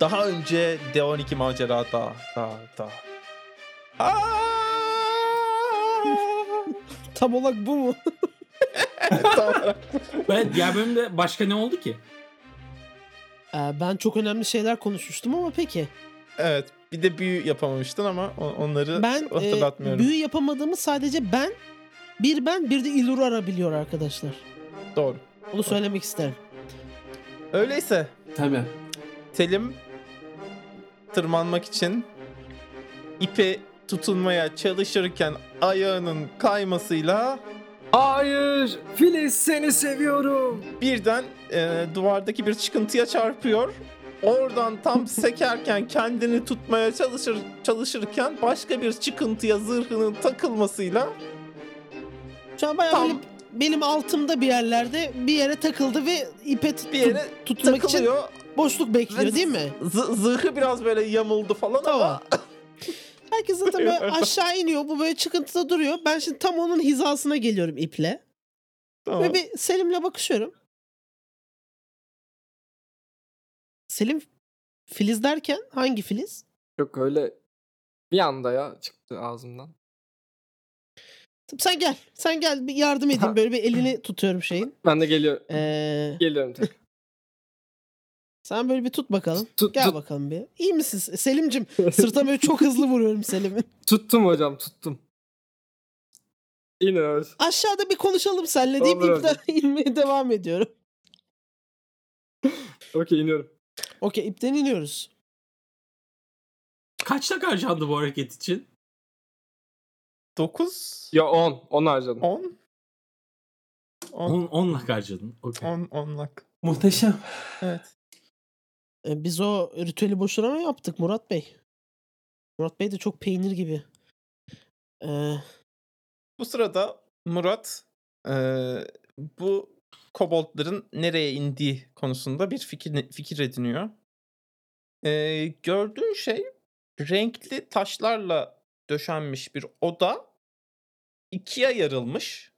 Daha önce D12 macera da da da. Aa! Tam olarak bu mu? Tamam. Evet diğer bölümde başka ne oldu ki? Ee, ben çok önemli şeyler konuşmuştum ama peki. evet. Bir de büyü yapamamıştın ama on- onları Ben e, hatırlatmıyorum. büyü yapamadığımı sadece ben, bir ben bir de İlur arabiliyor arkadaşlar. Doğru. Onu söylemek isterim. Öyleyse Tabii. Selim tırmanmak için ipe tutunmaya çalışırken ayağının kaymasıyla Hayır. Filiz seni seviyorum. birden e, duvardaki bir çıkıntıya çarpıyor. Oradan tam sekerken kendini tutmaya çalışır çalışırken başka bir çıkıntıya zırhının takılmasıyla Şu an bayağı Tam- böyle benim altımda bir yerlerde bir yere takıldı ve ipe tut- bir yere tutmak için takılıyor. boşluk bekliyor Ve- değil mi? Z- zırhı biraz böyle yamuldu falan Tamam. ama Herkes zaten böyle aşağı iniyor. Bu böyle çıkıntıda duruyor. Ben şimdi tam onun hizasına geliyorum iple. Tamam. Ve bir Selim'le bakışıyorum. Selim Filiz derken hangi Filiz? Yok öyle bir anda ya çıktı ağzımdan. Tabii Sen gel. Sen gel bir yardım edeyim. Böyle bir elini tutuyorum şeyin. Ben de geliyorum. Ee, Geliyorum tek. sen böyle bir tut bakalım. Tut, Gel tut- bakalım bir. İyi misin Selim'cim? Sırtına böyle çok hızlı vuruyorum Selim'in. tuttum hocam tuttum. İniyoruz. Aşağıda bir konuşalım seninle deyip Olur ipten inmeye devam ediyorum. Okey iniyorum. Okey ipten iniyoruz. Kaçta harcandı bu hareket için? 9 Ya 10. 10 harcadım. 10 10 10 10 lak harcadın. Okey. 10 10 lak. Muhteşem. Evet. E, Biz o ritüeli boşuna mı yaptık Murat Bey? Murat Bey de çok peynir gibi. Ee, Bu sırada Murat eee, bu koboldların nereye indiği konusunda bir fikir fikir ediniyor. Eee, gördüğün şey renkli taşlarla döşenmiş bir oda ikiye yarılmış.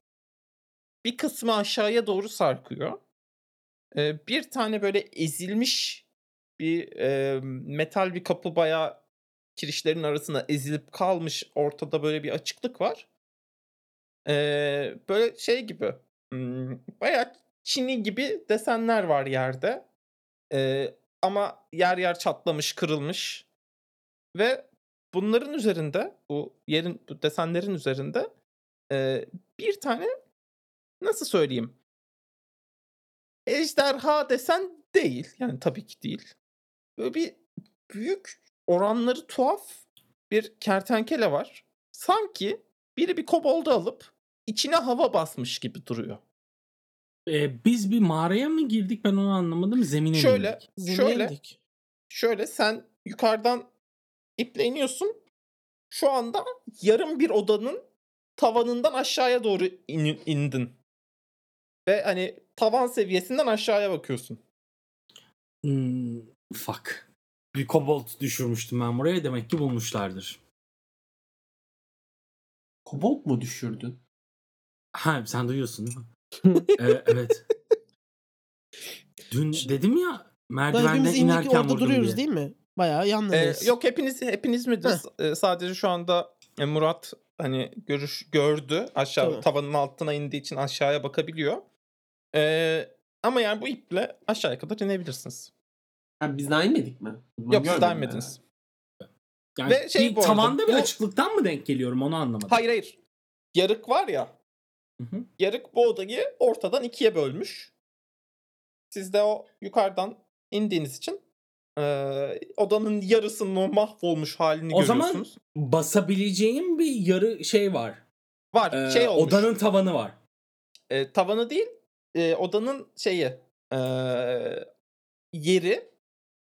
Bir kısmı aşağıya doğru sarkıyor. Eee, bir tane böyle ezilmiş bir eee, metal bir kapı bayağı kirişlerin arasına ezilip kalmış. Ortada böyle bir açıklık var. Ee, böyle şey gibi hmm, bayağı çini gibi desenler var yerde. Ee, ama yer yer çatlamış, kırılmış. Ve bunların üzerinde bu yerin bu desenlerin üzerinde e, bir tane nasıl söyleyeyim? Ejderha desen değil. Yani tabii ki değil. Böyle bir büyük oranları tuhaf bir kertenkele var. Sanki biri bir koboldu alıp içine hava basmış gibi duruyor. Ee, biz bir mağaraya mı girdik ben onu anlamadım. Zemine mi Şöyle, indik? şöyle, zengindik. şöyle sen yukarıdan iple iniyorsun. Şu anda yarım bir odanın tavanından aşağıya doğru in- indin. Ve hani tavan seviyesinden aşağıya bakıyorsun. Hmm, fuck. Bir kobolt düşürmüştüm ben buraya. Demek ki bulmuşlardır. Kobold mu düşürdün? Ha sen duyuyorsun değil mi? Ee, evet. Dün dedim ya Lan merdivenden hepimiz indik inerken orada vurdum duruyoruz diye. değil mi? Bayağı Ee, yanlarındayız. yok hepiniz hepiniz mi? Ee, Sadece şu anda e, Murat hani görüş gördü aşağı Tamam. tavanın altına indiği için aşağıya bakabiliyor. Ee, ama yani bu iple aşağıya kadar inebilirsiniz. Ha, biz daha inmedik mi? Bunu Yok siz görmedim denmediniz. Yani Ve şey bir bu arada, tavanda bir bu- açıklıktan mı denk geliyorum onu anlamadım. Hayır hayır. Yarık var ya. Hı hı. Yarık bu odayı ortadan ikiye bölmüş. Siz de o yukarıdan indiğiniz için eee, odanın yarısının o mahvolmuş halini O zaman- görüyorsunuz. Basabileceğim bir yarı şey var. var Ee, şey olmuş. Odanın tavanı var. E, tavanı değil e, odanın şeyi e, yeri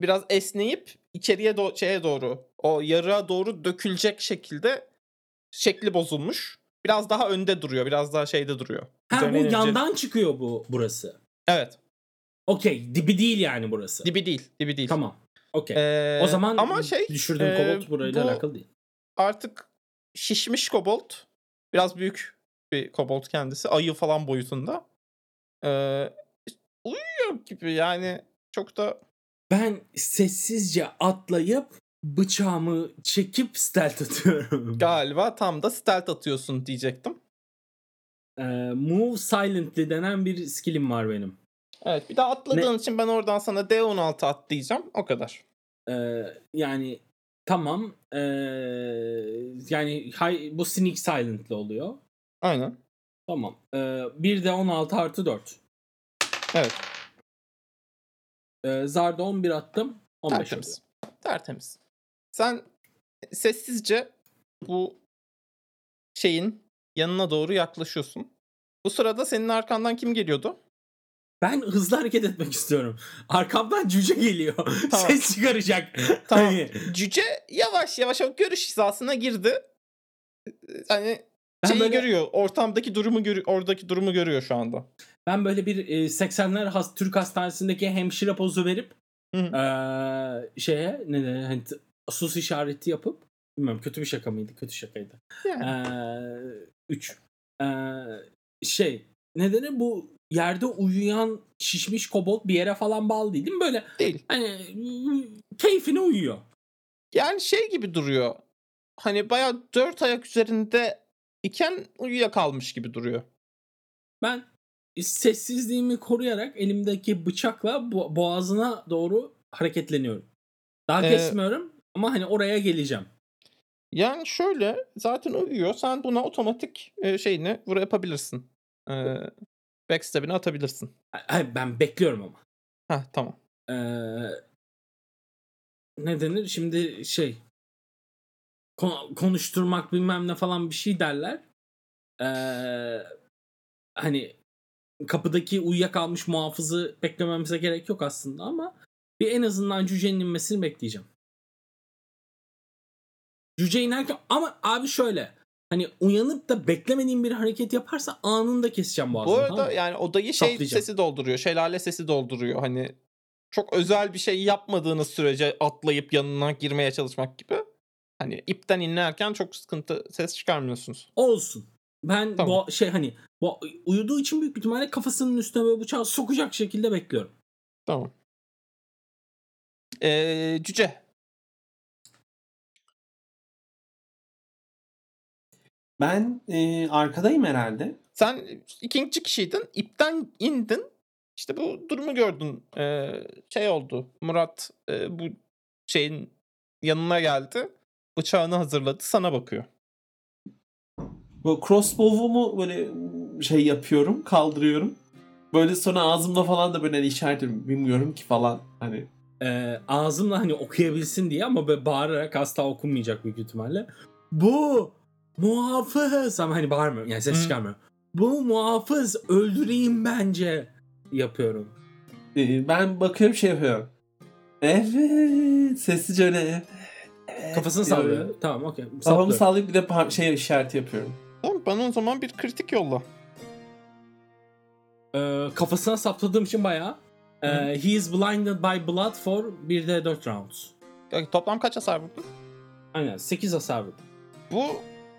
biraz esneyip içeriye do- şeye doğru o yarığa doğru dökülecek şekilde şekli bozulmuş. Biraz daha önde duruyor. Biraz daha şeyde duruyor. Ha bu Üzerine ince- yandan çıkıyor bu burası. Evet. Okey dibi değil yani burası. Dibi değil. Dibi değil. Tamam. Okey. E, o zaman ama şey düşürdüğüm e, kobolt burayla bu- alakalı değil. artık şişmiş kobold. Biraz büyük bir kobold kendisi. Ayı falan boyutunda. Ee, uyuyor gibi yani. Çok da Ben sessizce atlayıp bıçağımı çekip stealth atıyorum. Galiba tam da stealth atıyorsun diyecektim. Ee, move silently denen bir skillim var benim. Evet bir daha atladığın için ben oradan sana D16 at diyeceğim. O kadar. Ee, yani tamam. ee, yani hay, bu sneak silently oluyor. Aynen. Tamam. Ee, bir de 16 artı 4. Evet. Ee, zarda 11 attım. 15 oldu. Tertemiz. Tertemiz. Sen sessizce bu şeyin yanına doğru yaklaşıyorsun. Bu sırada senin arkandan kim geliyordu? Ben hızlı hareket etmek istiyorum. Arkamdan cüce geliyor. Tamam. Ses çıkaracak. Tamam. Hani Cüce yavaş yavaş o görüş hizasına girdi. Hani ben şeyi böyle- görüyor. Ortamdaki durumu görüyor. Oradaki durumu görüyor şu anda. Ben böyle bir e, 80'ler has, Türk hastanesindeki hemşire pozu verip Hı hı. e, şeye ne de hani t- sus işareti yapıp bilmiyorum kötü bir şaka mıydı? Kötü şakaydı. Yani. 3. şey nedeni bu yerde uyuyan şişmiş kobold bir yere falan bağlı değil, değil mi? Böyle Değil. hani mm, keyfine uyuyor. Yani şey gibi duruyor. Hani bayağı dört ayak üzerinde iken uyuyakalmış gibi duruyor. Ben sessizliğimi koruyarak elimdeki bıçakla bo- boğazına doğru hareketleniyorum. Daha Ee, kesmiyorum ama hani oraya geleceğim. Yani şöyle zaten uyuyor. Sen buna otomatik e, şeyini vura yapabilirsin. E, backstab'ini atabilirsin. Hayır ben bekliyorum ama. Ha tamam. Ee, ne denir? Şimdi şey kon- konuşturmak bilmem ne falan bir şey derler. Ee, hani kapıdaki uyuyakalmış muhafızı beklememize gerek yok aslında ama bir en azından cücenin inmesini bekleyeceğim. Cüce inerken ama abi şöyle hani uyanıp da beklemediğim bir hareket yaparsa anında keseceğim boğazını. Bu tamam arada mı? yani odayı şey Saplayacağım. sesi dolduruyor. Şelale sesi dolduruyor. Hani çok özel bir şey yapmadığınız sürece atlayıp yanına girmeye çalışmak gibi. Hani ipten inlerken çok sıkıntı ses çıkarmıyorsunuz. Olsun. Ben Tamam. bu şey hani bu, uyuduğu için büyük bir ihtimalle kafasının üstüne böyle bıçağı sokacak şekilde bekliyorum. Tamam. Ee, cüce. Ben e, arkadayım herhalde. Sen e, ikinci kişiydin. ipten indin. İşte bu durumu gördün. Ee, şey oldu. Murat e, bu şeyin yanına geldi. Bıçağını hazırladı. Sana bakıyor. Bu crossbow'umu böyle şey yapıyorum, kaldırıyorum. Böyle sonra ağzımla falan da böyle hani işaret ediyorum. Bilmiyorum ki falan hani. Ee, ağzımla hani okuyabilsin diye ama böyle bağırarak asla okunmayacak büyük ihtimalle. Bu muhafız ama hani bağırmıyorum yani ses Hı. çıkarmıyorum. Bu muhafız öldüreyim bence yapıyorum. E, ben bakıyorum şey yapıyorum. Evet. Sessizce öyle evet. evet Kafasını diyorum. sallıyor. Tamam okey. Kafamı Saplıyorum. sallayıp bir de par- şey işareti yapıyorum. Tamam bana o zaman bir kritik yolla. Ee, kafasına sapladığım için bayağı. Ee, he is blinded by blood for bir de 4 rounds. Yani toplam kaç hasar vurdun? Aynen 8 hasar vurdu. Bu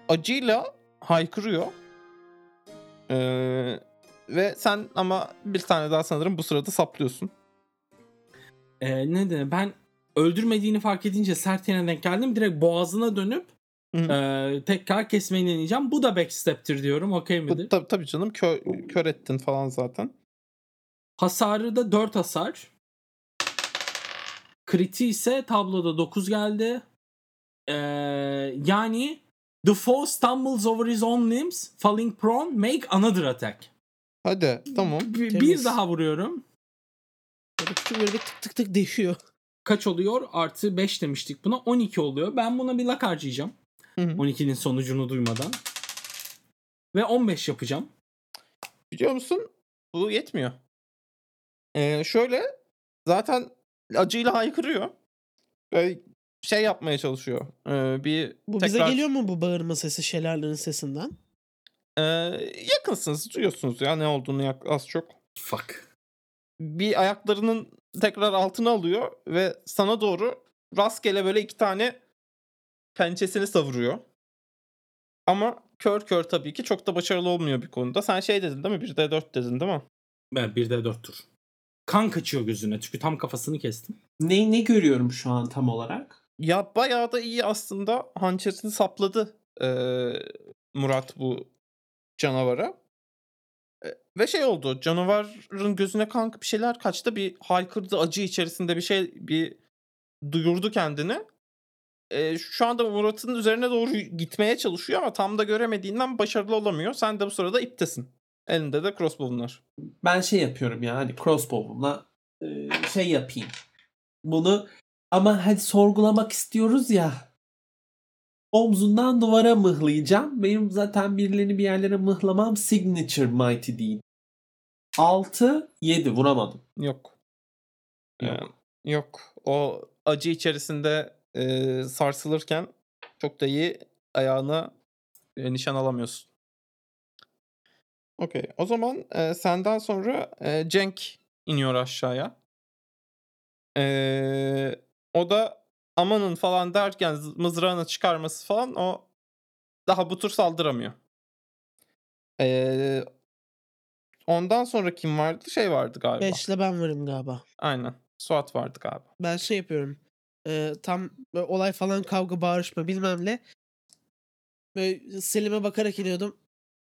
acıyla haykırıyor. Ee, ve sen ama bir tane daha sanırım bu sırada saplıyorsun. e, ne denir ben öldürmediğini fark edince sert yerine denk geldim. Direkt boğazına dönüp Hı hı. e, tekrar kesmeyi deneyeceğim. Bu da backstep'tir diyorum. Okey midir? Bu, tabii, tabii canım kö- kör ettin falan zaten. Hasarı da 4 hasar. Kriti ise tabloda 9 geldi. E, yani The foe stumbles over his own limbs, falling prone, make another attack. Hadi tamam. Bir, Temiz. bir daha vuruyorum. Böyle küçük böyle bir tık tık tık değişiyor. Kaç oluyor? Artı 5 demiştik buna. 12 oluyor. Ben buna bir lak harcayacağım. Hı hı. 12'nin sonucunu duymadan. Ve 15 yapacağım. Biliyor musun? Bu yetmiyor. Ee, şöyle zaten acıyla haykırıyor. Böyle şey yapmaya çalışıyor. Ee, bir Bu bize geliyor mu bu bağırma sesi şelalenin sesinden? Ee, yakınsınız, duyuyorsunuz ya ne olduğunu yak- az çok. Fuck. Bir ayaklarının tekrar altına alıyor ve sana doğru rastgele böyle iki tane pençesini savuruyor. Ama kör kör tabii ki çok da başarılı olmuyor bir konuda. Sen şey dedin değil mi? 1D4 dedin değil mi? Ben 1'de 4 tur. Kan kaçıyor gözüne çünkü tam kafasını kestim. Ne, ne görüyorum şu an tam olarak? Ya bayağı da iyi aslında hançerini sapladı ee, Murat bu canavara. E, Ve şey oldu canavarın gözüne kanka bir şeyler kaçtı bir haykırdı acı içerisinde bir şey bir duyurdu kendini. E, şu anda Murat'ın üzerine doğru gitmeye çalışıyor ama tam da göremediğinden başarılı olamıyor. Sen de bu sırada iptesin. Elinde de crossbow'un var. Ben şey yapıyorum ya hani crossbow'umla e, şey yapayım. Bunu ama hadi sorgulamak istiyoruz ya. Omzundan duvara mıhlayacağım. Benim zaten birilerini bir yerlere mıhlamam signature mighty değil. 6 7 vuramadım. Yok. Ee, yok. O acı içerisinde e, sarsılırken çok da iyi ayağına e, nişan alamıyorsun. Okey. O zaman e, senden sonra e, Cenk iniyor aşağıya. E, o da amanın falan derken z- mızrağını çıkarması falan o daha bu tur saldıramıyor. E, ondan sonra kim vardı? Şey vardı galiba. Beşle ben varım galiba. Aynen. Suat vardı galiba. Ben şey yapıyorum. e, tam böyle olay falan kavga bağırışma bilmem ne. Böyle Selim'e bakarak iniyordum.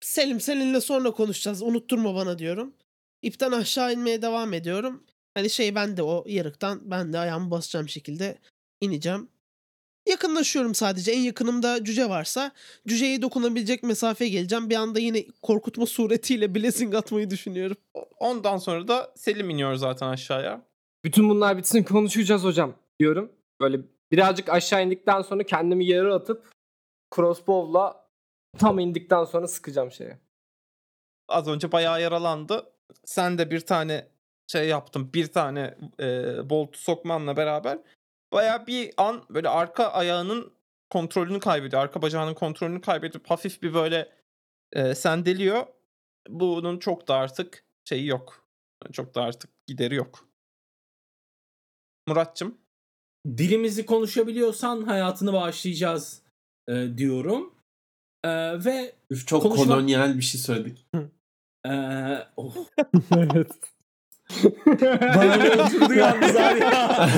Selim seninle sonra konuşacağız. Unutturma bana diyorum. İpten aşağı inmeye devam ediyorum. Hani şey ben de o yarıktan ben de ayağımı basacağım şekilde ineceğim. Yakınlaşıyorum sadece. En yakınımda cüce varsa cüceye dokunabilecek mesafeye geleceğim. Bir anda yine korkutma suretiyle blessing atmayı düşünüyorum. O- Ondan sonra da Selim iniyor zaten aşağıya. Bütün bunlar bitsin konuşacağız hocam diyorum. Böyle birazcık aşağı indikten sonra kendimi yere atıp crossbow'la tam indikten sonra sıkacağım şeye. Az önce bayağı yaralandı. Sen de bir tane şey yaptın. Bir tane e, bolt sokmanla beraber bayağı bir an böyle arka ayağının kontrolünü kaybediyor. Arka bacağının kontrolünü kaybedip hafif bir böyle e, sendeliyor. Bunun çok da artık şeyi yok. Çok da artık gideri yok. Muratçım Dilimizi konuşabiliyorsan hayatını bağışlayacağız e, diyorum. E, ve Üf çok Konuşma- kolonyal bir şey söyledik. e, oh, evet. Bana ne oturdu yalnız Arya.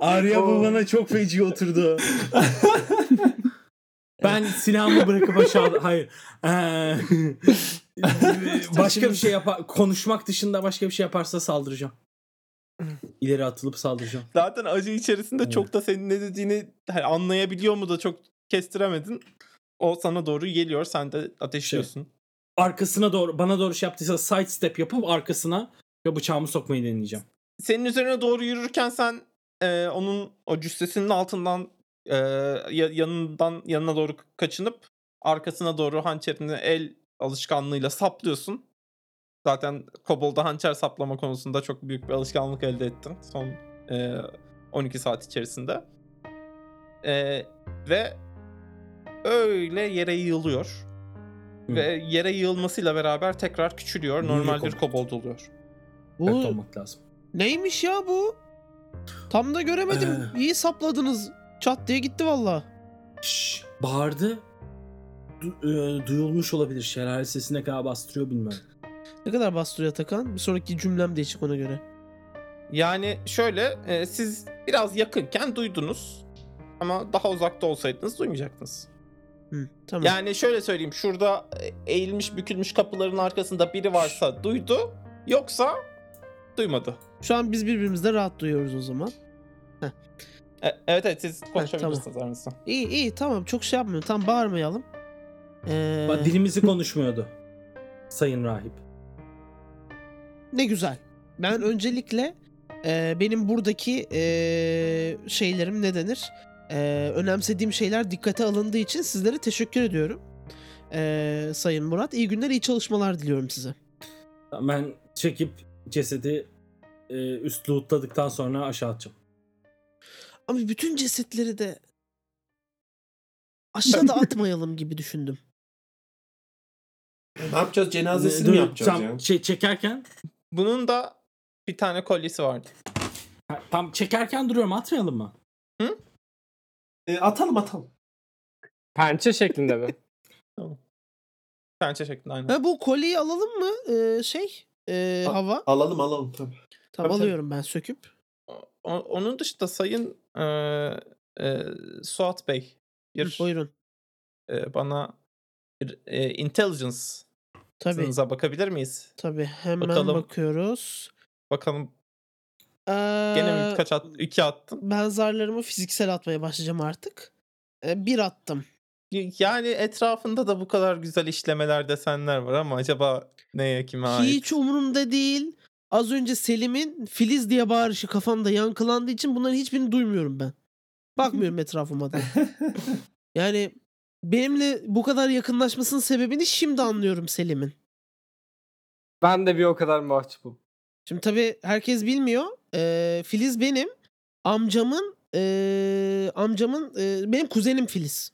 Arya bu Oo. bana çok feci oturdu. ben silahımı bırakıp aşağı... Hayır. Ee, başka bir şey yapar... Konuşmak dışında başka bir şey yaparsa saldıracağım. İleri atılıp saldıracağım. Zaten acı içerisinde çok da senin ne dediğini hani anlayabiliyor mu da çok kestiremedin. O sana doğru geliyor. Sen de ateşliyorsun. Arkasına doğru, bana doğru şey yaptıysa side step yapıp arkasına ve bıçağımı sokmayı deneyeceğim. Senin üzerine doğru yürürken sen e, onun o cüssesinin altından e, ya- yanından yanına doğru kaçınıp arkasına doğru hançerini el alışkanlığıyla saplıyorsun. Zaten Kobol'da hançer saplama konusunda çok büyük bir alışkanlık elde ettin son e, 12 saat içerisinde. E, ve öyle yere yığılıyor. Hı. Ve yere yığılmasıyla beraber tekrar küçülüyor. Büyük Normal bir olmak. kobold oluyor. Bu... Bu olmak lazım. Neymiş ya bu? Tam da göremedim. İyi sapladınız. Çat diye gitti valla. Şşş, bağırdı. Du- e, duyulmuş olabilir. Şelale sesine kadar bastırıyor bilmem. Ne kadar bastırıyor Atakan? Bir sonraki cümlem değişik ona göre. Yani şöyle e, siz biraz yakınken duydunuz ama daha uzakta olsaydınız duymayacaktınız. Hı, tamam. Yani şöyle söyleyeyim şurada e, eğilmiş bükülmüş kapıların arkasında biri varsa duydu yoksa duymadı. Şu an biz birbirimizle rahat duyuyoruz o zaman. E, evet evet siz konuşabilirsiniz aranızda. İyi iyi tamam çok şey yapmıyorum. Tam bağırmayalım. Ee, Bak dilimizi konuşmuyordu. Sayın rahip. ne güzel. Ben öncelikle e, benim buradaki e, şeylerim ne denir? E, önemsediğim şeyler dikkate alındığı için sizlere teşekkür ediyorum. E, Sayın Murat iyi günler iyi çalışmalar diliyorum size. Ben çekip cesedi e, üst lootladıktan sonra aşağı atacağım. Ama bütün cesetleri de aşağıda atmayalım gibi düşündüm. ne yapacağız? Cenazesini Hani Dur, mi yapacağız tam ya? Şey, çekerken Bunun da bir tane kolyesi vardı. ha, tam çekerken duruyorum atmayalım mı? E, atalım atalım. Pençe şeklinde mi? Pençe şeklinde aynen. Ha, bu kolyeyi alalım mı? Ee, şey e, A- hava. Alalım alalım tabii. Tamam tabii, tabii. alıyorum ben söküp. O- onun dışında Sayın e, e, Suat Bey bir Buyurun. e, bana bir e, intelligence'ınıza Tabii. bakabilir miyiz? Tabii hemen Bakalım. bakıyoruz. Bakalım Ee, gene mi kaç at, iki attın? Ben zarlarımı fiziksel atmaya başlayacağım artık. Ee, bir attım. Yani etrafında da bu kadar güzel işlemeler desenler var ama acaba neye kime ait? Hiç umurumda değil. Az önce Selim'in Filiz diye bağırışı kafamda yankılandığı için bunların hiçbirini duymuyorum ben. Bakmıyorum etrafıma da. Yani benimle bu kadar yakınlaşmasının sebebini şimdi anlıyorum Selim'in. Ben de bir o kadar mahcubum. Şimdi tabii herkes bilmiyor. Ee, Filiz benim. Amcamın ee, amcamın ee, benim kuzenim Filiz.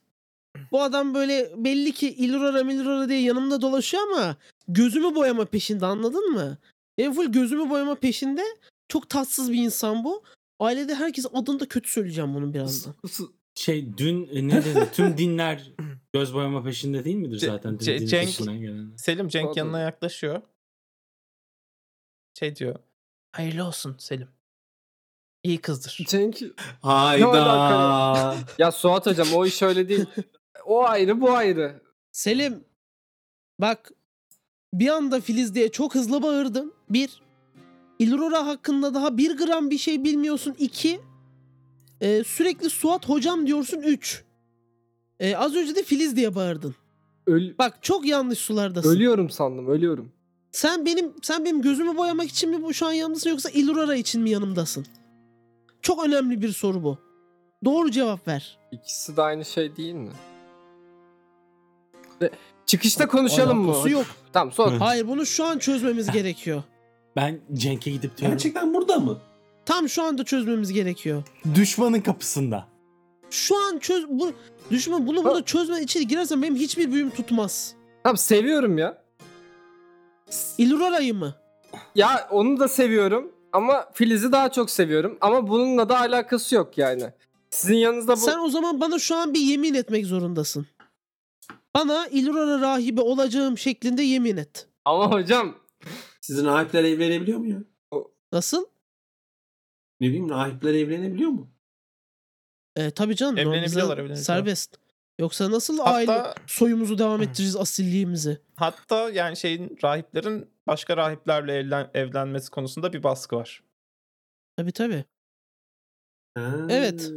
Bu adam böyle belli ki ilurara milurara diye yanımda dolaşıyor ama gözümü boyama peşinde anladın mı? Benim full gözümü boyama peşinde çok tatsız bir insan bu. Ailede herkes adını da kötü söyleyeceğim bunun birazdan. Şey dün e, ne dedi? Tüm dinler göz boyama peşinde değil midir Ce- zaten? Ce- Tüm din Cenk- peşinden gelenler. Selim Cenk Pardon. yanına yaklaşıyor. Şey diyor. Hayırlı olsun Selim. İyi kızdır. Cenk Hayda. alaka ya Suat hocam o iş öyle değil. O ayrı bu ayrı. Selim bak bir anda Filiz diye çok hızlı bağırdın. Bir. İlrora hakkında daha bir gram bir şey bilmiyorsun. İki. e, sürekli Suat hocam diyorsun. Üç. E, az önce de Filiz diye bağırdın. Öl- Bak çok yanlış sulardasın. ölüyorum sandım ölüyorum. Sen benim sen benim gözümü boyamak için mi bu şu an yanımdasın yoksa İlurara için mi yanımdasın? Çok önemli bir soru bu. Doğru cevap ver. İkisi de aynı şey değil mi? Ve çıkışta konuşalım mı? Alakası yok. Tamam sonra. Hayır bunu şu an çözmemiz gerekiyor. Ben Cenk'e gidip diyorum. Gerçekten burada mı? Tam şu anda çözmemiz gerekiyor. Düşmanın kapısında. Şu an çöz bu düşman bunu burada çözme içeri girersen benim hiçbir büyüm tutmaz. Tamam seviyorum ya. İlurara'yı mı? Ya onu da seviyorum ama Filiz'i daha çok seviyorum ama bununla da alakası yok yani. Sizin yanınızda bu Sen o zaman bana şu an bir yemin etmek zorundasın. Bana İlurara rahibi olacağım şeklinde yemin et. ama hocam Sizin rahipler evlenebiliyor mu ya? Nasıl? Ne bileyim rahipler evlenebiliyor mu? E, tabii canım. normal Evlenebiliyorlar, bizden evlenebiliyorlar. Serbest. Yoksa nasıl Hatta aile soyumuzu devam ettireceğiz asilliğimizi? hatta yani şeyin rahiplerin başka rahiplerle evlen- evlenmesi konusunda bir baskı var. Tabii tabii. Ha. Evet.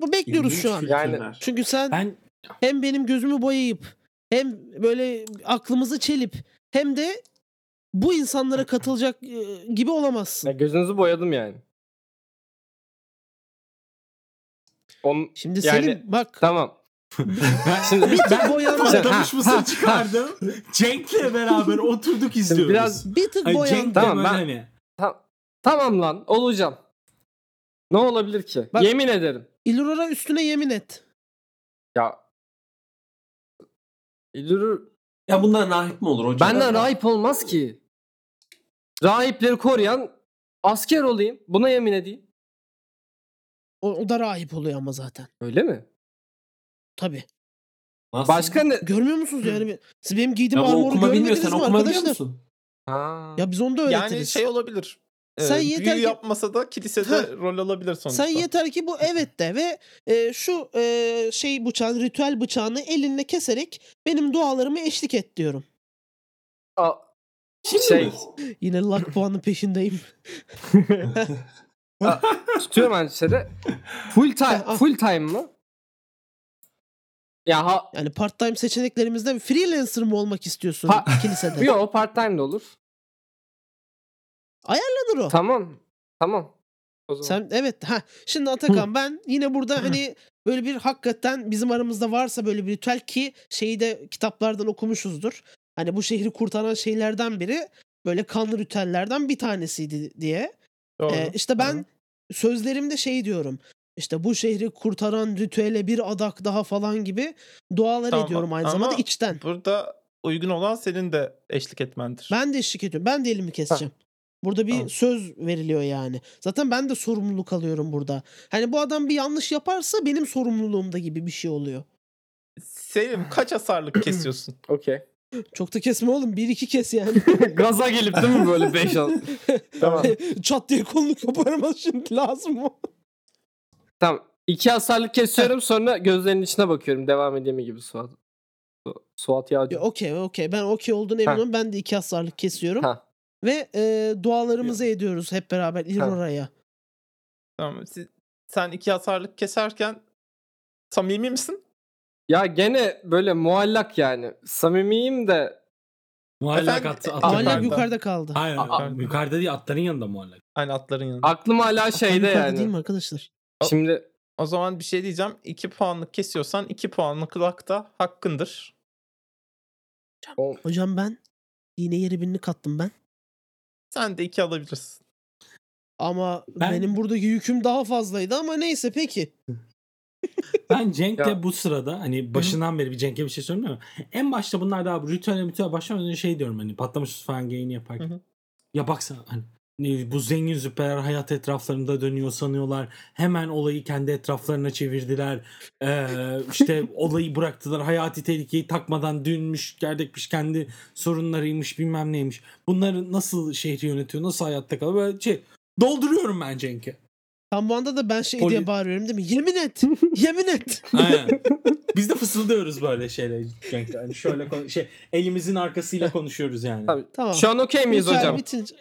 Bu bekliyoruz İlginç şu an. kültürler. Yani- Çünkü sen Ben hem benim gözümü boyayıp hem böyle aklımızı çelip hem de bu insanlara katılacak e, gibi olamazsın. ya gözünüzü boyadım yani. On... Şimdi Yani- Selim bak Tamam. ben, Şimdi- bir tık ben boyandı. patlamış mısır çıkardım. Cenk'le beraber oturduk izliyoruz. biraz- bir tık Hani boyandı. Cenk Tamam, tamam, ben- hani. Tam- tamam lan olacağım. Ne olabilir ki? Bak- Yemin ederim. İlurara üstüne yemin et. Ya İlürür Ya bundan rahip mi olur hocam? benden rahip olmaz ki. Rahipleri koruyan asker olayım. Buna yemin edeyim. O, o da rahip oluyor ama zaten. Öyle mi? Tabii. Nasıl? Başka ne? Görmüyor musunuz yani? Ben- Siz benim ya giydiğim bu armoru okuma bilmiyor görmediniz sen mi okuma biliyor arkadaşlar? musun? Ha. Ya biz onu da öğretiriz. Yani şey olabilir. Sen Sen yeter ki- büyü yapmasa da kilisede Ha. rol alabilir sonuçta. Sen yeter ki bu evet de ve e, şu e, şey bıçağın ritüel bıçağını elinle keserek benim dualarımı eşlik et diyorum. Aa, Şimdi Şey- mi? Yine luck puanı peşindeyim. tutuyorum aynı şeyde. Full Ah. time, full time mı? Ya ha, Yani part time seçeneklerimizden freelancer mı olmak istiyorsun Ha- kilisede? yo part time de olur. Nedir o? Tamam. Tamam. O zaman. Ah. Sen evet ha şimdi Atakan ben yine burada hani böyle bir hakikaten bizim aramızda varsa böyle bir ritüel ki şeyi de kitaplardan okumuşuzdur. Hani bu şehri kurtaran şeylerden biri böyle kanlı ritüellerden bir tanesiydi diye. Doğru. Ee, işte ben Doğru. sözlerimde şey diyorum. İşte bu şehri kurtaran ritüele bir adak daha falan gibi dualar Tamam, ediyorum aynı ama- zamanda içten. Burada uygun olan senin de eşlik etmendir. Ben de eşlik ediyorum. Ben de elimi keseceğim. Burada bir Tamam. söz veriliyor yani. Zaten ben de sorumluluk alıyorum burada. Hani bu adam bir yanlış yaparsa benim sorumluluğumda gibi bir şey oluyor. Selim kaç hasarlık kesiyorsun? Okey. Çok da kesme oğlum. Bir iki kes yani. Gaza gelip değil mi böyle 5 al? Tamam. Çat diye kolunu koparmaz şimdi lazım mı? Tamam. İki hasarlık kesiyorum sonra gözlerinin içine bakıyorum. Devam edeyim mi gibi Suat. Su- Suat Yağcı. Ya Okey okey. Ben okey olduğunu Ha. eminim. Ben de iki hasarlık kesiyorum. Ha. Ve e, dualarımızı ediyoruz hep beraber İlmora'ya. Tamam. Siz- sen iki hasarlık keserken samimi misin? Ya gene böyle muallak yani. Samimiyim de Muallak Efendim, attı. e, attı muallak Hala Yukarıda. yukarıda. yukarıda kaldı. Hayır, Aa, yukarıda. yukarıda değil atların yanında muallak. Aynı atların yanında. aklım hala şeyde Yukarıda yani. değil mi arkadaşlar? Şimdi O zaman bir şey diyeceğim. 2 puanlık kesiyorsan 2 puanlık lak da hakkındır. o- Hocam ben yine yeri birini kattım ben. Sen de 2 alabilirsin. Ama Ben- benim buradaki yüküm daha fazlaydı ama neyse peki. Ben Cenk'le Ya. bu sırada hani başından beri bir Cenk'e bir şey söylemiyorum ama en başta bunlar daha ritüel ritüel başlamadan önce şey diyorum hani patlamış falan geyini yaparken. Hı hı. Ya baksana hani ne- bu zengin züppeler hayat etraflarında dönüyor sanıyorlar. Hemen olayı kendi etraflarına çevirdiler. Ee, işte olayı bıraktılar. Hayati tehlikeyi takmadan dünmüş, gerdekmiş kendi sorunlarıymış bilmem neymiş. Bunları nasıl şehri yönetiyor, nasıl hayatta kalıyor böyle şey dolduruyorum ben Cenk'e. Tam bu anda da ben şey Poli- diye bağırıyorum değil mi? Yemin et! Yemin et! Aynen. Biz de fısıldıyoruz böyle şeyler. Cenk. Yani şöyle konu- şey elimizin arkasıyla konuşuyoruz yani. Tabii. Tamam. şu an okey miyiz Hikaye hocam? bitince-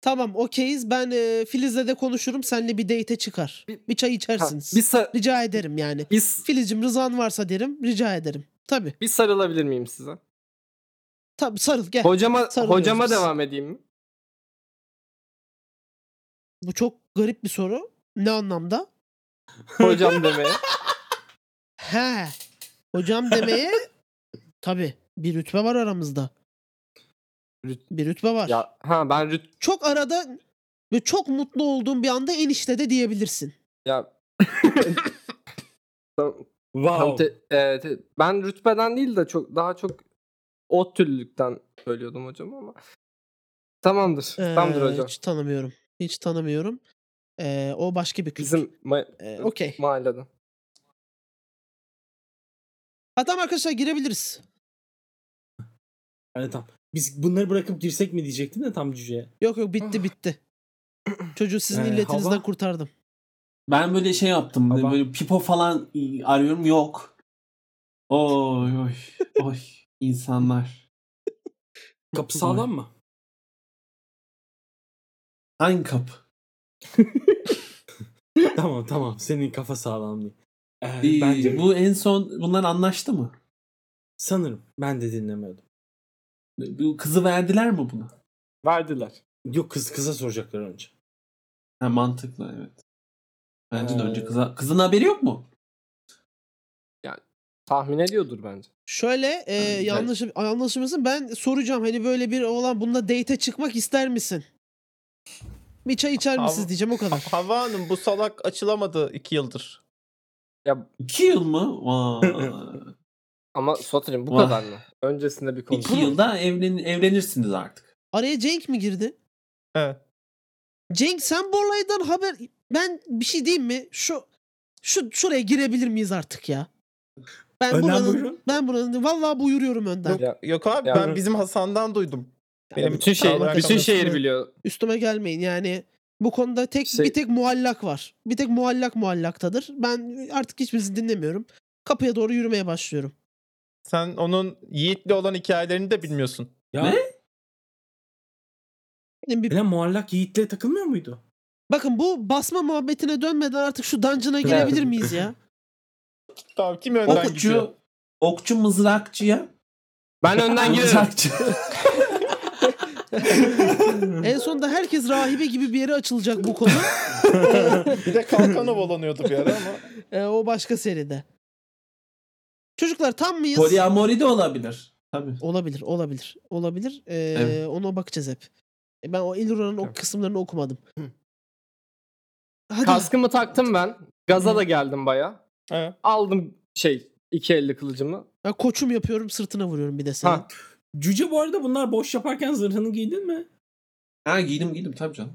Tamam okeyiz. Ben e, Filiz'le de konuşurum. Senle bir date'e çıkar. Bir çay Ha, içersiniz. bir, sa- Rica ederim yani. bir, s- Filiz'cim rızan varsa derim. Rica ederim. Tabii. bir sarılabilir miyim size? Tabii sarıl gel. Hocama sarılıyoruz hocama biz. devam edeyim mi? Bu çok garip bir soru. Ne anlamda? Hocam demeye. He. Hocam demeye tabii bir rütbe var aramızda. Rüt- Bir rütbe var. ya ha ben rüt Çok arada ve çok mutlu olduğun bir anda enişte de diyebilirsin. ya tam Wow. te- e, te- ben rütbeden değil de çok daha çok ot türlülükten söylüyordum hocam ama. Tamamdır. Ee, tamamdır hocam. Hiç tanımıyorum. Hiç tanımıyorum. Ee, o başka bir kız. Bizim ma- Okey. mahalleden. Ha tamam arkadaşlar girebiliriz. Yani Hani tam. Biz bunları bırakıp girsek mi diyecektim de tam cüceye. Yok yok bitti bitti. Çocuğu sizin Ah. Ee, illetinizden hava? kurtardım. Ben böyle şey yaptım. Tamam. Böyle pipo falan arıyorum. Yok. Oy oy oy. İnsanlar. Kapı sağlam mı? Hangi kapı? tamam tamam senin kafa sağlam değil. Ee, Ee, bence Bu en son bunlar anlaştı mı? sanırım ben de dinlemiyordum. Bu kızı verdiler mi buna? Verdiler. Yok kız kıza soracaklar önce. Ha, mantıklı evet. Bence de Ee, önce kıza. Kızın haberi yok mu? Tahmin ediyordur bence. Şöyle e, Ben- yanlış anlaşılmasın ben soracağım hani böyle bir oğlan bununla date'e çıkmak ister misin? Bir çay içer Abi- misiniz diyeceğim o kadar. Hava Hanım bu salak açılamadı 2 yıldır. Ya İki yıl mı? Vay. ama Sotirim bu Vah. kadar mı? Öncesinde bir İki konuşalım. yılda evlen, evlenirsiniz artık. Araya Cenk mi girdi? Evet. Cenk sen bu olaydan haber... Ben bir şey diyeyim mi? Şu şu şuraya girebilir miyiz artık ya? Ben Önden buranın buyurun. ben buranın vallahi buyuruyorum önden. Ya- Yok abi Ya- ben bizim Hasan'dan duydum. Benim bütün şey, Allah'a bütün şükür. şehir biliyor. Üstüme gelmeyin yani. Bu konuda tek Şey- bir tek muallak var. Bir tek muallak muallaktadır. Ben artık hiçbirisini dinlemiyorum. Kapıya doğru yürümeye başlıyorum. Sen onun Yiğit'le olan hikayelerini de bilmiyorsun. Ya, Ne? Benim bir- Ela muallak Yiğit'le takılmıyor muydu? Bakın bu basma muhabbetine dönmeden artık şu dungeon'a girebilir miyiz ya? Tamam kim önden gidiyor? Okçu, okçu mızrakçıya. Ben önden girerim. Mızrakçı. en sonunda herkes rahibe gibi bir yere açılacak bu konu. Bir de Kalkanov olanıyordu bir ara ama. Ee, o başka seride. Çocuklar tam mıyız? Poliamori de olabilir. Tabii. Olabilir, olabilir, olabilir. Ee, Evet. Ona bakacağız hep. E, Ben o Elura'nın o Tamam. kısımlarını okumadım. Hadi. Kaskımı taktım ben. Gaza da geldim baya. He. Aldım şey iki elli kılıcımı. Ben koçum yapıyorum sırtına vuruyorum bir de seni. Ha. Cüce bu arada bunlar boş yaparken zırhını giydin mi? Ha giydim giydim tabii canım.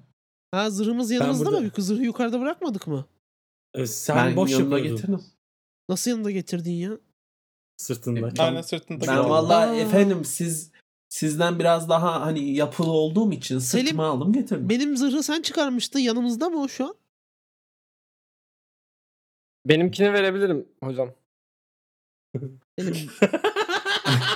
Ha, zırhımız yanımızda burada- mı? Zırhı yukarıda bırakmadık mı? Ee, sen ben boş yanıma yapıyordun. getirdim. Nasıl yanında getirdin ya? Sırtında. Aynen sırtında. Ben kaldı. vallahi Aa. efendim siz sizden biraz daha hani yapılı olduğum için Selim, sırtıma aldım getirdim. Benim zırhı sen çıkarmıştın yanımızda mı o şu an? Benimkini verebilirim hocam. Selim,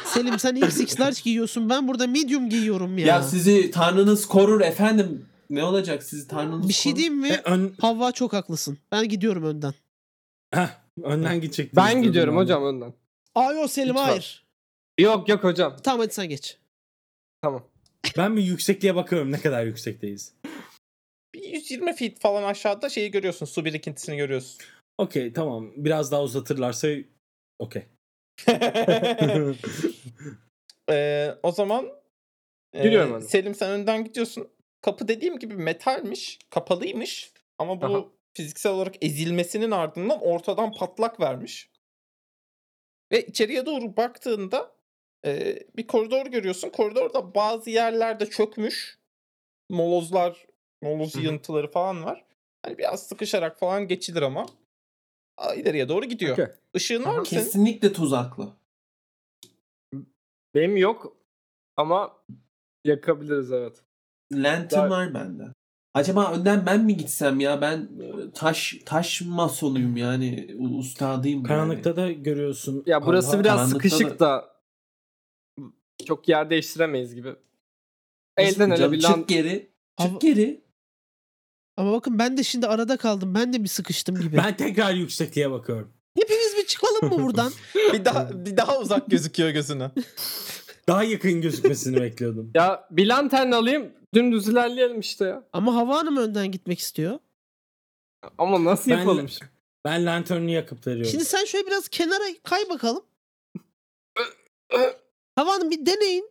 Selim sen XX large giyiyorsun ben burada medium giyiyorum ya. ya. sizi tanrınız korur efendim. Ne olacak sizi tanrınız bir şey korur. diyeyim E, mi? ön, Havva çok haklısın. Ben gidiyorum önden. Heh, önden gidecek. Ben gidiyorum hocam önden. Ay o Selim Lütfen. hayır. Yok yok hocam. Tamam hadi sen geç. Tamam. Ben bir yüksekliğe bakıyorum ne kadar yüksekteyiz. Bir 120 feet falan aşağıda şeyi görüyorsun. Su birikintisini görüyorsun. Okey tamam. Biraz daha uzatırlarsa okey. Ee, o zaman e, Giriyorum hadi. Selim sen önden gidiyorsun. Kapı dediğim gibi metalmiş, kapalıymış ama bu Aha. fiziksel olarak ezilmesinin ardından ortadan patlak vermiş. Ve içeriye doğru baktığında e, bir koridor görüyorsun. Koridorda bazı yerlerde çökmüş. Molozlar, moloz Hı hı. yığıntıları falan var. Hani biraz sıkışarak falan geçilir ama. Aa, ileriye doğru gidiyor. Okey. Işığın var mı senin? Kesinlikle tuzaklı. Benim yok ama yakabiliriz evet. Lantern Daha- var bende. Acaba önden ben mi gitsem ya? Ben e, taş taş masonuyum yani. U- Ustadıyım. Karanlıkta da görüyorsun. Ya burası Allah- biraz karanlıkta sıkışık da çok yer değiştiremeyiz gibi. yani. Elden ele Canım, bir Çık lan. geri. Çık Ama- geri. Ama bakın ben de şimdi arada kaldım. Ben de bir sıkıştım gibi. Ben tekrar yüksekliğe bakıyorum. Hepimiz bir çıkalım mı buradan? Bir daha bir daha uzak gözüküyor gözüne. Daha yakın gözükmesini bekliyordum. Ya bir lantern alayım dümdüz ilerleyelim işte ya. Ama Hava Hanım önden gitmek istiyor. Ama nasıl Ben- yapalım şimdi? Ben lanternü yakıp veriyorum. Şimdi sen şöyle biraz kenara kay bakalım. Hava Hanım bir deneyin.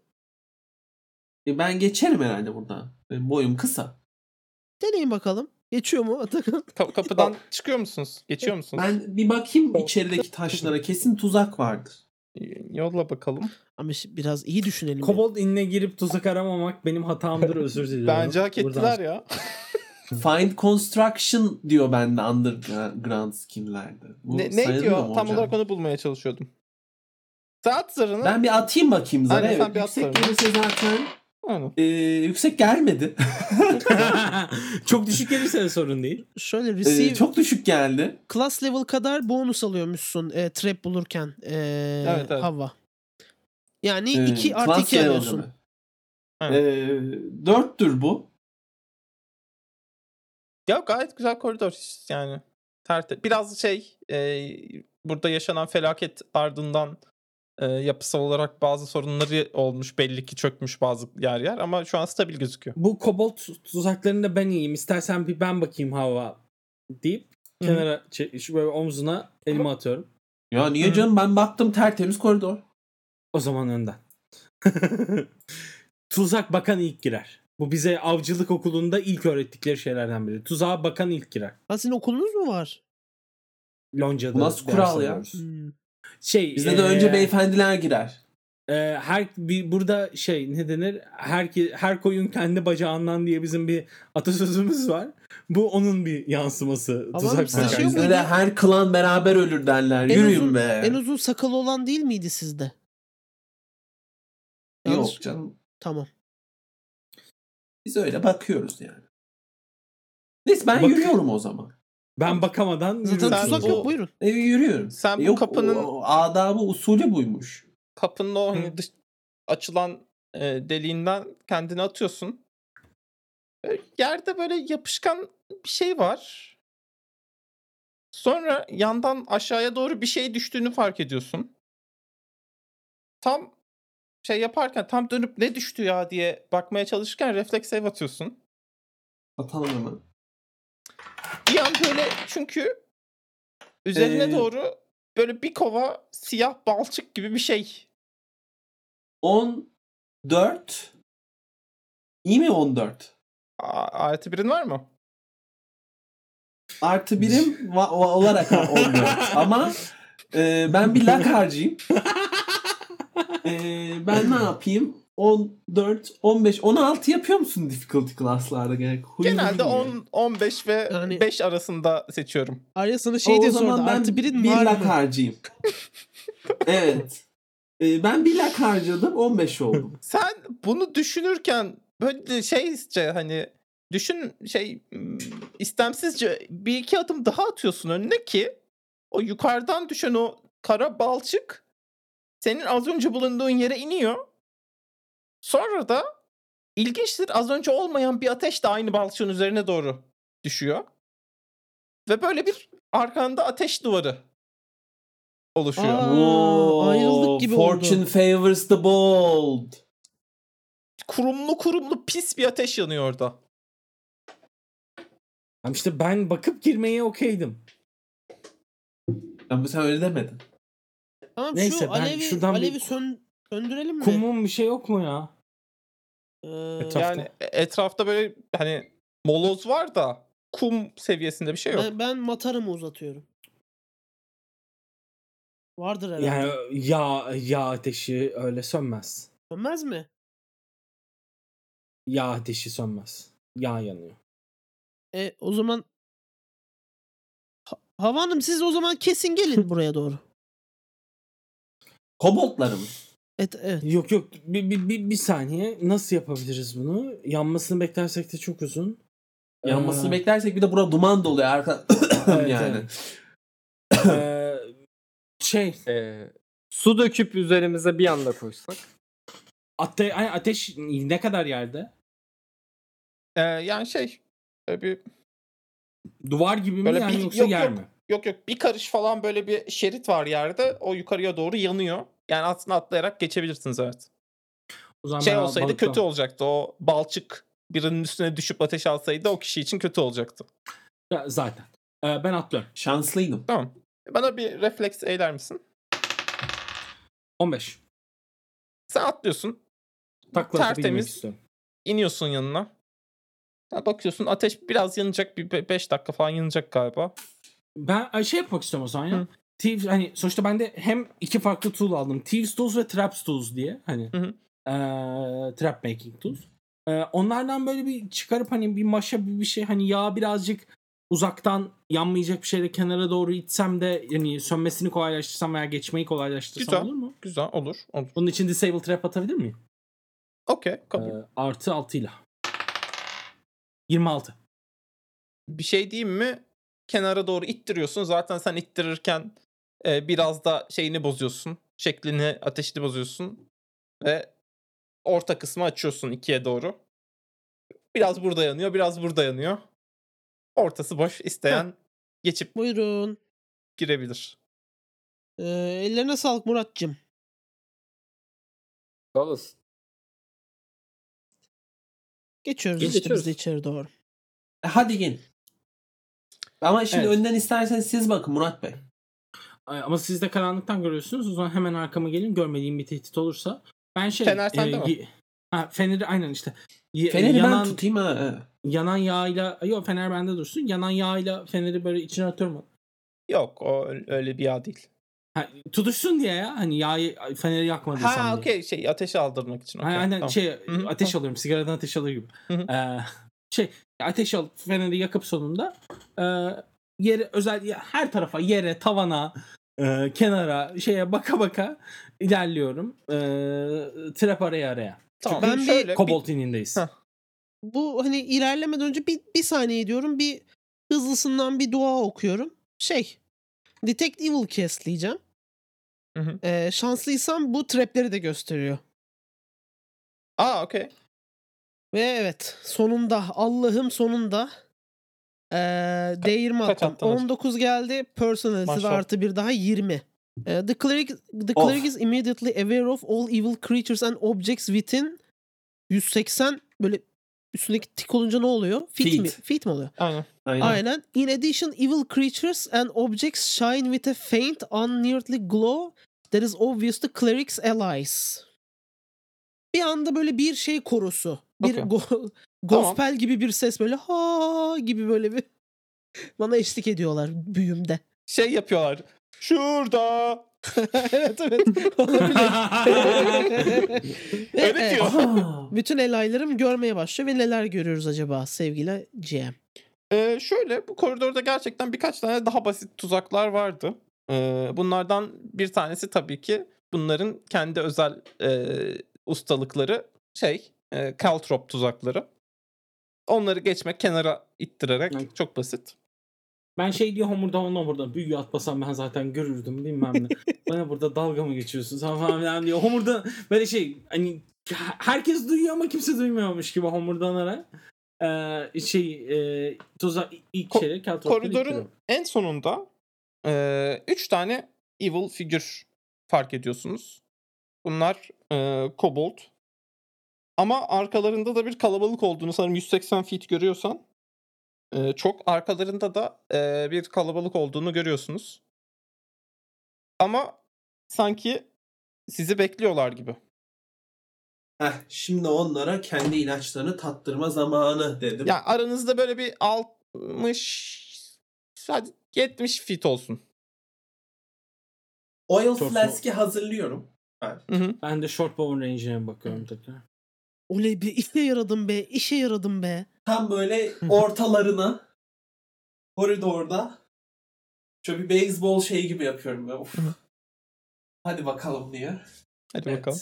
E, ben geçerim herhalde buradan. Benim boyum kısa. Deneyin bakalım. Geçiyor mu Atakan? Ka- kapıdan çıkıyor musunuz? Geçiyor musunuz? Ben bir bakayım içerideki taşlara. Kesin tuzak vardır. Yolla bakalım. Ama şi- biraz iyi düşünelim. Kobold inine girip tuzak aramamak benim hatamdır özür diliyorum. Bence hak Buradan- ettiler ya. Find construction diyor bende underground skinlerde. Bu Ne, ne sayılıyor diyor? mu Tam hocam? olarak onu bulmaya çalışıyordum. Saat zarını. Ben bir atayım bakayım zaten. Aynen, sen evet, bir at yüksek zarını. gelirse zaten Aynen. e, yüksek gelmedi. Çok düşük gelirse de sorun değil. Şöyle E, receive çok düşük geldi. class level kadar bonus alıyormuşsun e, trap bulurken e, Evet, evet. hava. Yani Ee, 2 artı class 2 level alıyorsun. mi? Aynen. Ee, dörttür bu. Ya gayet güzel koridor yani. Terte. Biraz şey e, burada yaşanan felaket ardından e, yapısal olarak bazı sorunları olmuş belli ki çökmüş bazı yer yer ama şu an stabil gözüküyor. Bu kobold tuzaklarında ben iyiyim. İstersen bir ben bakayım hava deyip Hı. kenara çe- şu böyle omzuna elimi atıyorum. Ya niye Hı. canım ben baktım tertemiz koridor. O zaman önden. Tuzak bakan ilk girer. Bu bize avcılık okulunda ilk öğrettikleri şeylerden biri. Tuzağa bakan ilk girer. Ha, sizin okulunuz mu var? Lonca'da. Bu nasıl ders kural ya? alıyoruz. Hmm. Şey, Bizde de ee, önce beyefendiler girer. Ee, her bir burada şey ne denir? Her her koyun kendi bacağından diye bizim bir atasözümüz var. Bu onun bir yansıması. Ama Tuzak bizde Ha, Size şey yok bizde muydu? de her klan beraber ölür derler. En Yürüyün uzun- be. En uzun sakalı olan değil miydi sizde? Yanlış- Yok canım. Tamam. Biz öyle bakıyoruz yani. Neyse ben Bak- yürüyorum o zaman. Ben bakamadan Zaten Sen tuzak bu- yok buyurun. E, yürüyorum. Sen bu Yok, kapının- o- o adabı usulü buymuş. Kapının o hani dış, açılan e, deliğinden kendini atıyorsun. E, Yerde böyle yapışkan bir şey var. Sonra yandan aşağıya doğru bir şey düştüğünü fark ediyorsun. Tam şey yaparken tam dönüp ne düştü ya diye bakmaya çalışırken refleks save atıyorsun. Atalım hemen. Bir an böyle çünkü üzerine Ee, doğru böyle bir kova siyah balçık gibi bir şey 14. İyi mi 14? A- artı birin var mı? Artı birim va- va- olarak 14. Ama e, ben bir lak harcayayım. E, ben ne yapayım? 14, 15, 16 yapıyor musun difficulty class'larda? Yani huylu Genelde huylu. 10, 15 ve Yani- 5 arasında seçiyorum. Arya sana O şey diye sordu. zaman ben Artı birin bir var lak mı? harcayayım. Evet. Ee, ben bir lak harcadım 15 oldum. Sen bunu düşünürken böyle şeyce hani düşün şey m, istemsizce bir iki adım daha atıyorsun önüne ki o yukarıdan düşen o kara balçık senin az önce bulunduğun yere iniyor. Sonra da ilginçtir az önce olmayan bir ateş de aynı balçığın üzerine doğru düşüyor. Ve böyle bir arkanda ateş duvarı oluşuyor. Aa, ayrıldık gibi oldu. Fortune favors the bold. kurumlu kurumlu pis bir ateş yanıyor orada. Ama işte ben bakıp girmeye okeydim. Ama sen öyle demedin. Tamam Neyse, şu ben alevi, şuradan bir- alevi sön, söndürelim mi? Kumun bir şey yok mu ya? Ee, Etraf- Etrafta. Yani e, etrafta böyle hani moloz var da kum seviyesinde bir şey yok. ben, ben matarımı uzatıyorum. Vardır herhalde. Yani yağ, yağ ateşi öyle sönmez. Sönmez mi? Yağ ateşi sönmez. Yağ yanıyor. E, o zaman ha- Hava Hanım siz o zaman kesin gelin buraya doğru. Koboltları mı? Evet, evet. Yok yok bir, bir, bir, bir saniye nasıl yapabiliriz bunu? Yanmasını beklersek de çok uzun. Yanmasını Ee, beklersek bir de bura duman doluyor arka evet, yani. evet. Ee, şey Ee, su döküp üzerimize bir anda koysak. ate ay, ateş ne kadar yerde? Ee, yani şey böyle bir Duvar gibi mi Böyle yani bir- yoksa yok, yer yok. mi? yok yok bir karış falan böyle bir şerit var yerde. O yukarıya doğru yanıyor. Yani aslında atlayarak geçebilirsiniz evet. O zaman Şey ben olsaydı balıktan- kötü olacaktı. O balçık birinin üstüne düşüp ateş alsaydı o kişi için kötü olacaktı. Ya, Zaten. Ee, ben atlıyorum. Şanslıydım. Tamam. Bana bir refleks eyler misin? 15. Sen atlıyorsun. Takla atıp inmek Tertemiz. istiyorum. iniyorsun yanına. Ya bakıyorsun ateş biraz yanacak bir 5 dakika falan yanacak galiba. Ben ay, şey yapmak istiyorum o zaman ya. Hı. Thieves, hani sonuçta ben de hem iki farklı tool aldım. Thieves Tools ve Traps Tools diye. Hani Hı hı. eee, Trap Making Tools. Eee, onlardan böyle bir çıkarıp hani bir maşa bir, bir şey hani yağ birazcık uzaktan yanmayacak bir şeyle kenara doğru itsem de yani sönmesini kolaylaştırsam veya geçmeyi kolaylaştırsam Güzel. olur mu? Güzel olur. Olur. Bunun için Disable Trap atabilir miyim? Okey kabul. Eee, artı 6 ile. 26. bir şey diyeyim mi? Kenara doğru ittiriyorsun. Zaten sen ittirirken e, biraz da şeyini bozuyorsun. Şeklini, ateşini bozuyorsun. Ve orta kısmı açıyorsun ikiye doğru. Biraz burada yanıyor, biraz burada yanıyor. Ortası boş. isteyen geçip Buyurun. girebilir. Ee, ellerine sağlık Murat'cığım. Dallas. Geçiyoruz Geç- işte biz de geçiyoruz. içeri doğru. E, Hadi gelin. Ama şimdi Evet. önden isterseniz siz bakın Murat Bey. Ay, Ama siz de karanlıktan görüyorsunuz. O zaman hemen arkama gelin. Görmediğim bir tehdit olursa. Ben şey... Fener sende mi? gi- Ha, feneri aynen işte. Ye- e, Feneri yanan, ben tutayım ha. e. Yanan yağıyla... Yok fener bende dursun. Yanan yağıyla feneri böyle içine atıyorum. Yok o ö- öyle bir yağ değil. Ha, tutuşsun diye ya. Hani yağı feneri yakmadıysam Ha diye. okey şey ateşe aldırmak için. Ha, okey, aynen tamam. şey Hı hı, ateş alıyorum. Sigaradan ateş alır gibi. Hı hı. Ee, şey ateş alıp feneri yakıp sonunda e, yere özel ya- her tarafa yere tavana e, kenara şeye baka baka ilerliyorum. E, trap araya araya. Tamam, Ben bir şöyle Kobolt inindeyiz. Heh. Bu hani ilerlemeden önce bir, bir saniye diyorum bir hızlısından bir dua okuyorum. Şey Detect Evil castleyeceğim. Hı hı. Ee, şanslıysam bu trapleri de gösteriyor. Aa okey. Ve evet sonunda Allah'ım sonunda ee, değirme kaç attım. attın hocam? 19 geldi. Personality ve Maşallah. artı bir daha 20. Ee, the cleric, the Of. cleric is immediately aware of all evil creatures and objects within 180 böyle üstündeki tik olunca ne oluyor? Fit, Feet. mi? Fit mi oluyor? Aynen. Aynen. Aynen. In addition, evil creatures and objects shine with a faint, unearthly glow that is obvious to clerics allies. Bir anda böyle bir şey korosu. Bir Okey. go- gospel gibi bir ses böyle ha gibi böyle bir bana eşlik ediyorlar büyümde. Şey yapıyorlar. Şurada. evet evet. Olabilir. Ve, Öyle e, diyor. Aa, Bütün elaylarım görmeye başlıyor ve neler görüyoruz acaba sevgili GM? Ee, şöyle bu koridorda gerçekten birkaç tane daha basit tuzaklar vardı. Ee, bunlardan bir tanesi tabii ki bunların kendi özel e, ustalıkları şey e, Caltrop tuzakları. Onları geçmek kenara ittirerek Evet. çok basit. Ben şey diyor homurda ona burada büyü atmasam ben zaten görürdüm bilmem ne. Bana burada dalga mı geçiyorsun sen falan filan diyor. Homurda böyle şey hani herkes duyuyor ama kimse duymuyormuş gibi homurdanarak ee, şey e, tuzak ilk Ko- şeyleri keltropları ittiriyor. Koridorun en sonunda e, üç tane evil figür fark ediyorsunuz. Bunlar e, kobold. Ama arkalarında da bir kalabalık olduğunu sanırım 180 feet görüyorsan e, çok arkalarında da e, bir kalabalık olduğunu görüyorsunuz. Ama sanki sizi bekliyorlar gibi. Heh, şimdi onlara kendi ilaçlarını tattırma zamanı dedim. Yani aranızda böyle bir 60 hadi 70 feet olsun. Oil Çok flask'i hazırlıyorum. Hı hı. Ben de short bow range'ine bakıyorum tekrar. Oley be işe yaradım be. işe yaradım be. Tam böyle ortalarına koridorda şöyle bir beyzbol şeyi gibi yapıyorum. Böyle. Of. Hadi bakalım diye. Hadi Evet. bakalım.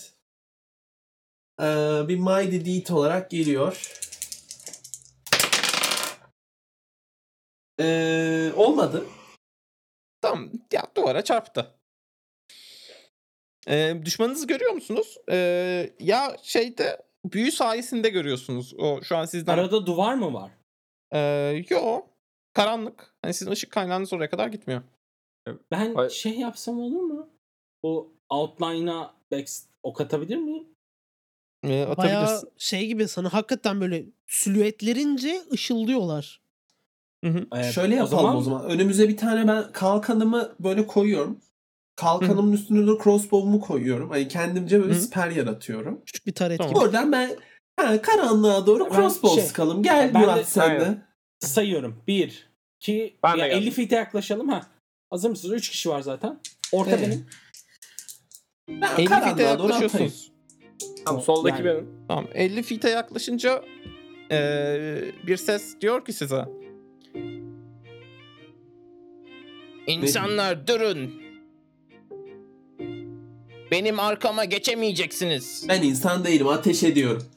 Ee, bir Mighty Deed olarak geliyor. Ee, olmadı. Tam ya duvara çarptı. Ee, düşmanınızı görüyor musunuz? Ee, ya şeyde büyü sayesinde görüyorsunuz. O şu an sizden Arada duvar mı var? Ee, yo karanlık. Hani sizin ışık kaynağınız oraya kadar gitmiyor. Ben Ay- şey yapsam olur mu? O outline'a back ok atabilir miyim? Ee, Baya atabilirsin. şey gibi sana hakikaten böyle silüetlerince ışıldıyorlar. Ee, Şöyle yapalım o zaman. Önümüze bir tane ben kalkanımı böyle koyuyorum. Kalkanımın üstüne de crossbow'umu koyuyorum. Hani kendimce böyle Hı. siper yaratıyorum. Küçük bir taret Tamam. gibi. Oradan ben ha, karanlığa doğru Ben crossbow şey- sıkalım. Gel Ben de- Murat sen de. Aynen. sayıyorum. 1 2 Ben de ya geldim. 50 feet'e yaklaşalım ha. Hazır mısınız? 3 kişi var zaten. Orta Evet. benim. Ben 50 feet'e karanlığa doğru atayım. yaklaşıyorsunuz. Tamam, soldaki Yani- benim. Tamam 50 feet'e yaklaşınca ee, bir ses diyor ki size. İnsanlar durun. Benim arkama geçemeyeceksiniz. Ben insan değilim ateş ediyorum.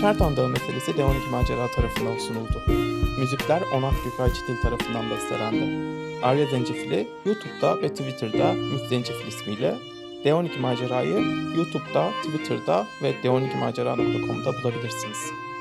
Çertan Dağı meselesi Leonik Macera tarafından sunuldu. Müzikler Onak Gökay Çitil tarafından bestelendi. Arya Zencefili YouTube'da ve Twitter'da Miss Zencefil ismiyle Leonik Macera'yı YouTube'da, Twitter'da ve leonikmacera.com'da bulabilirsiniz.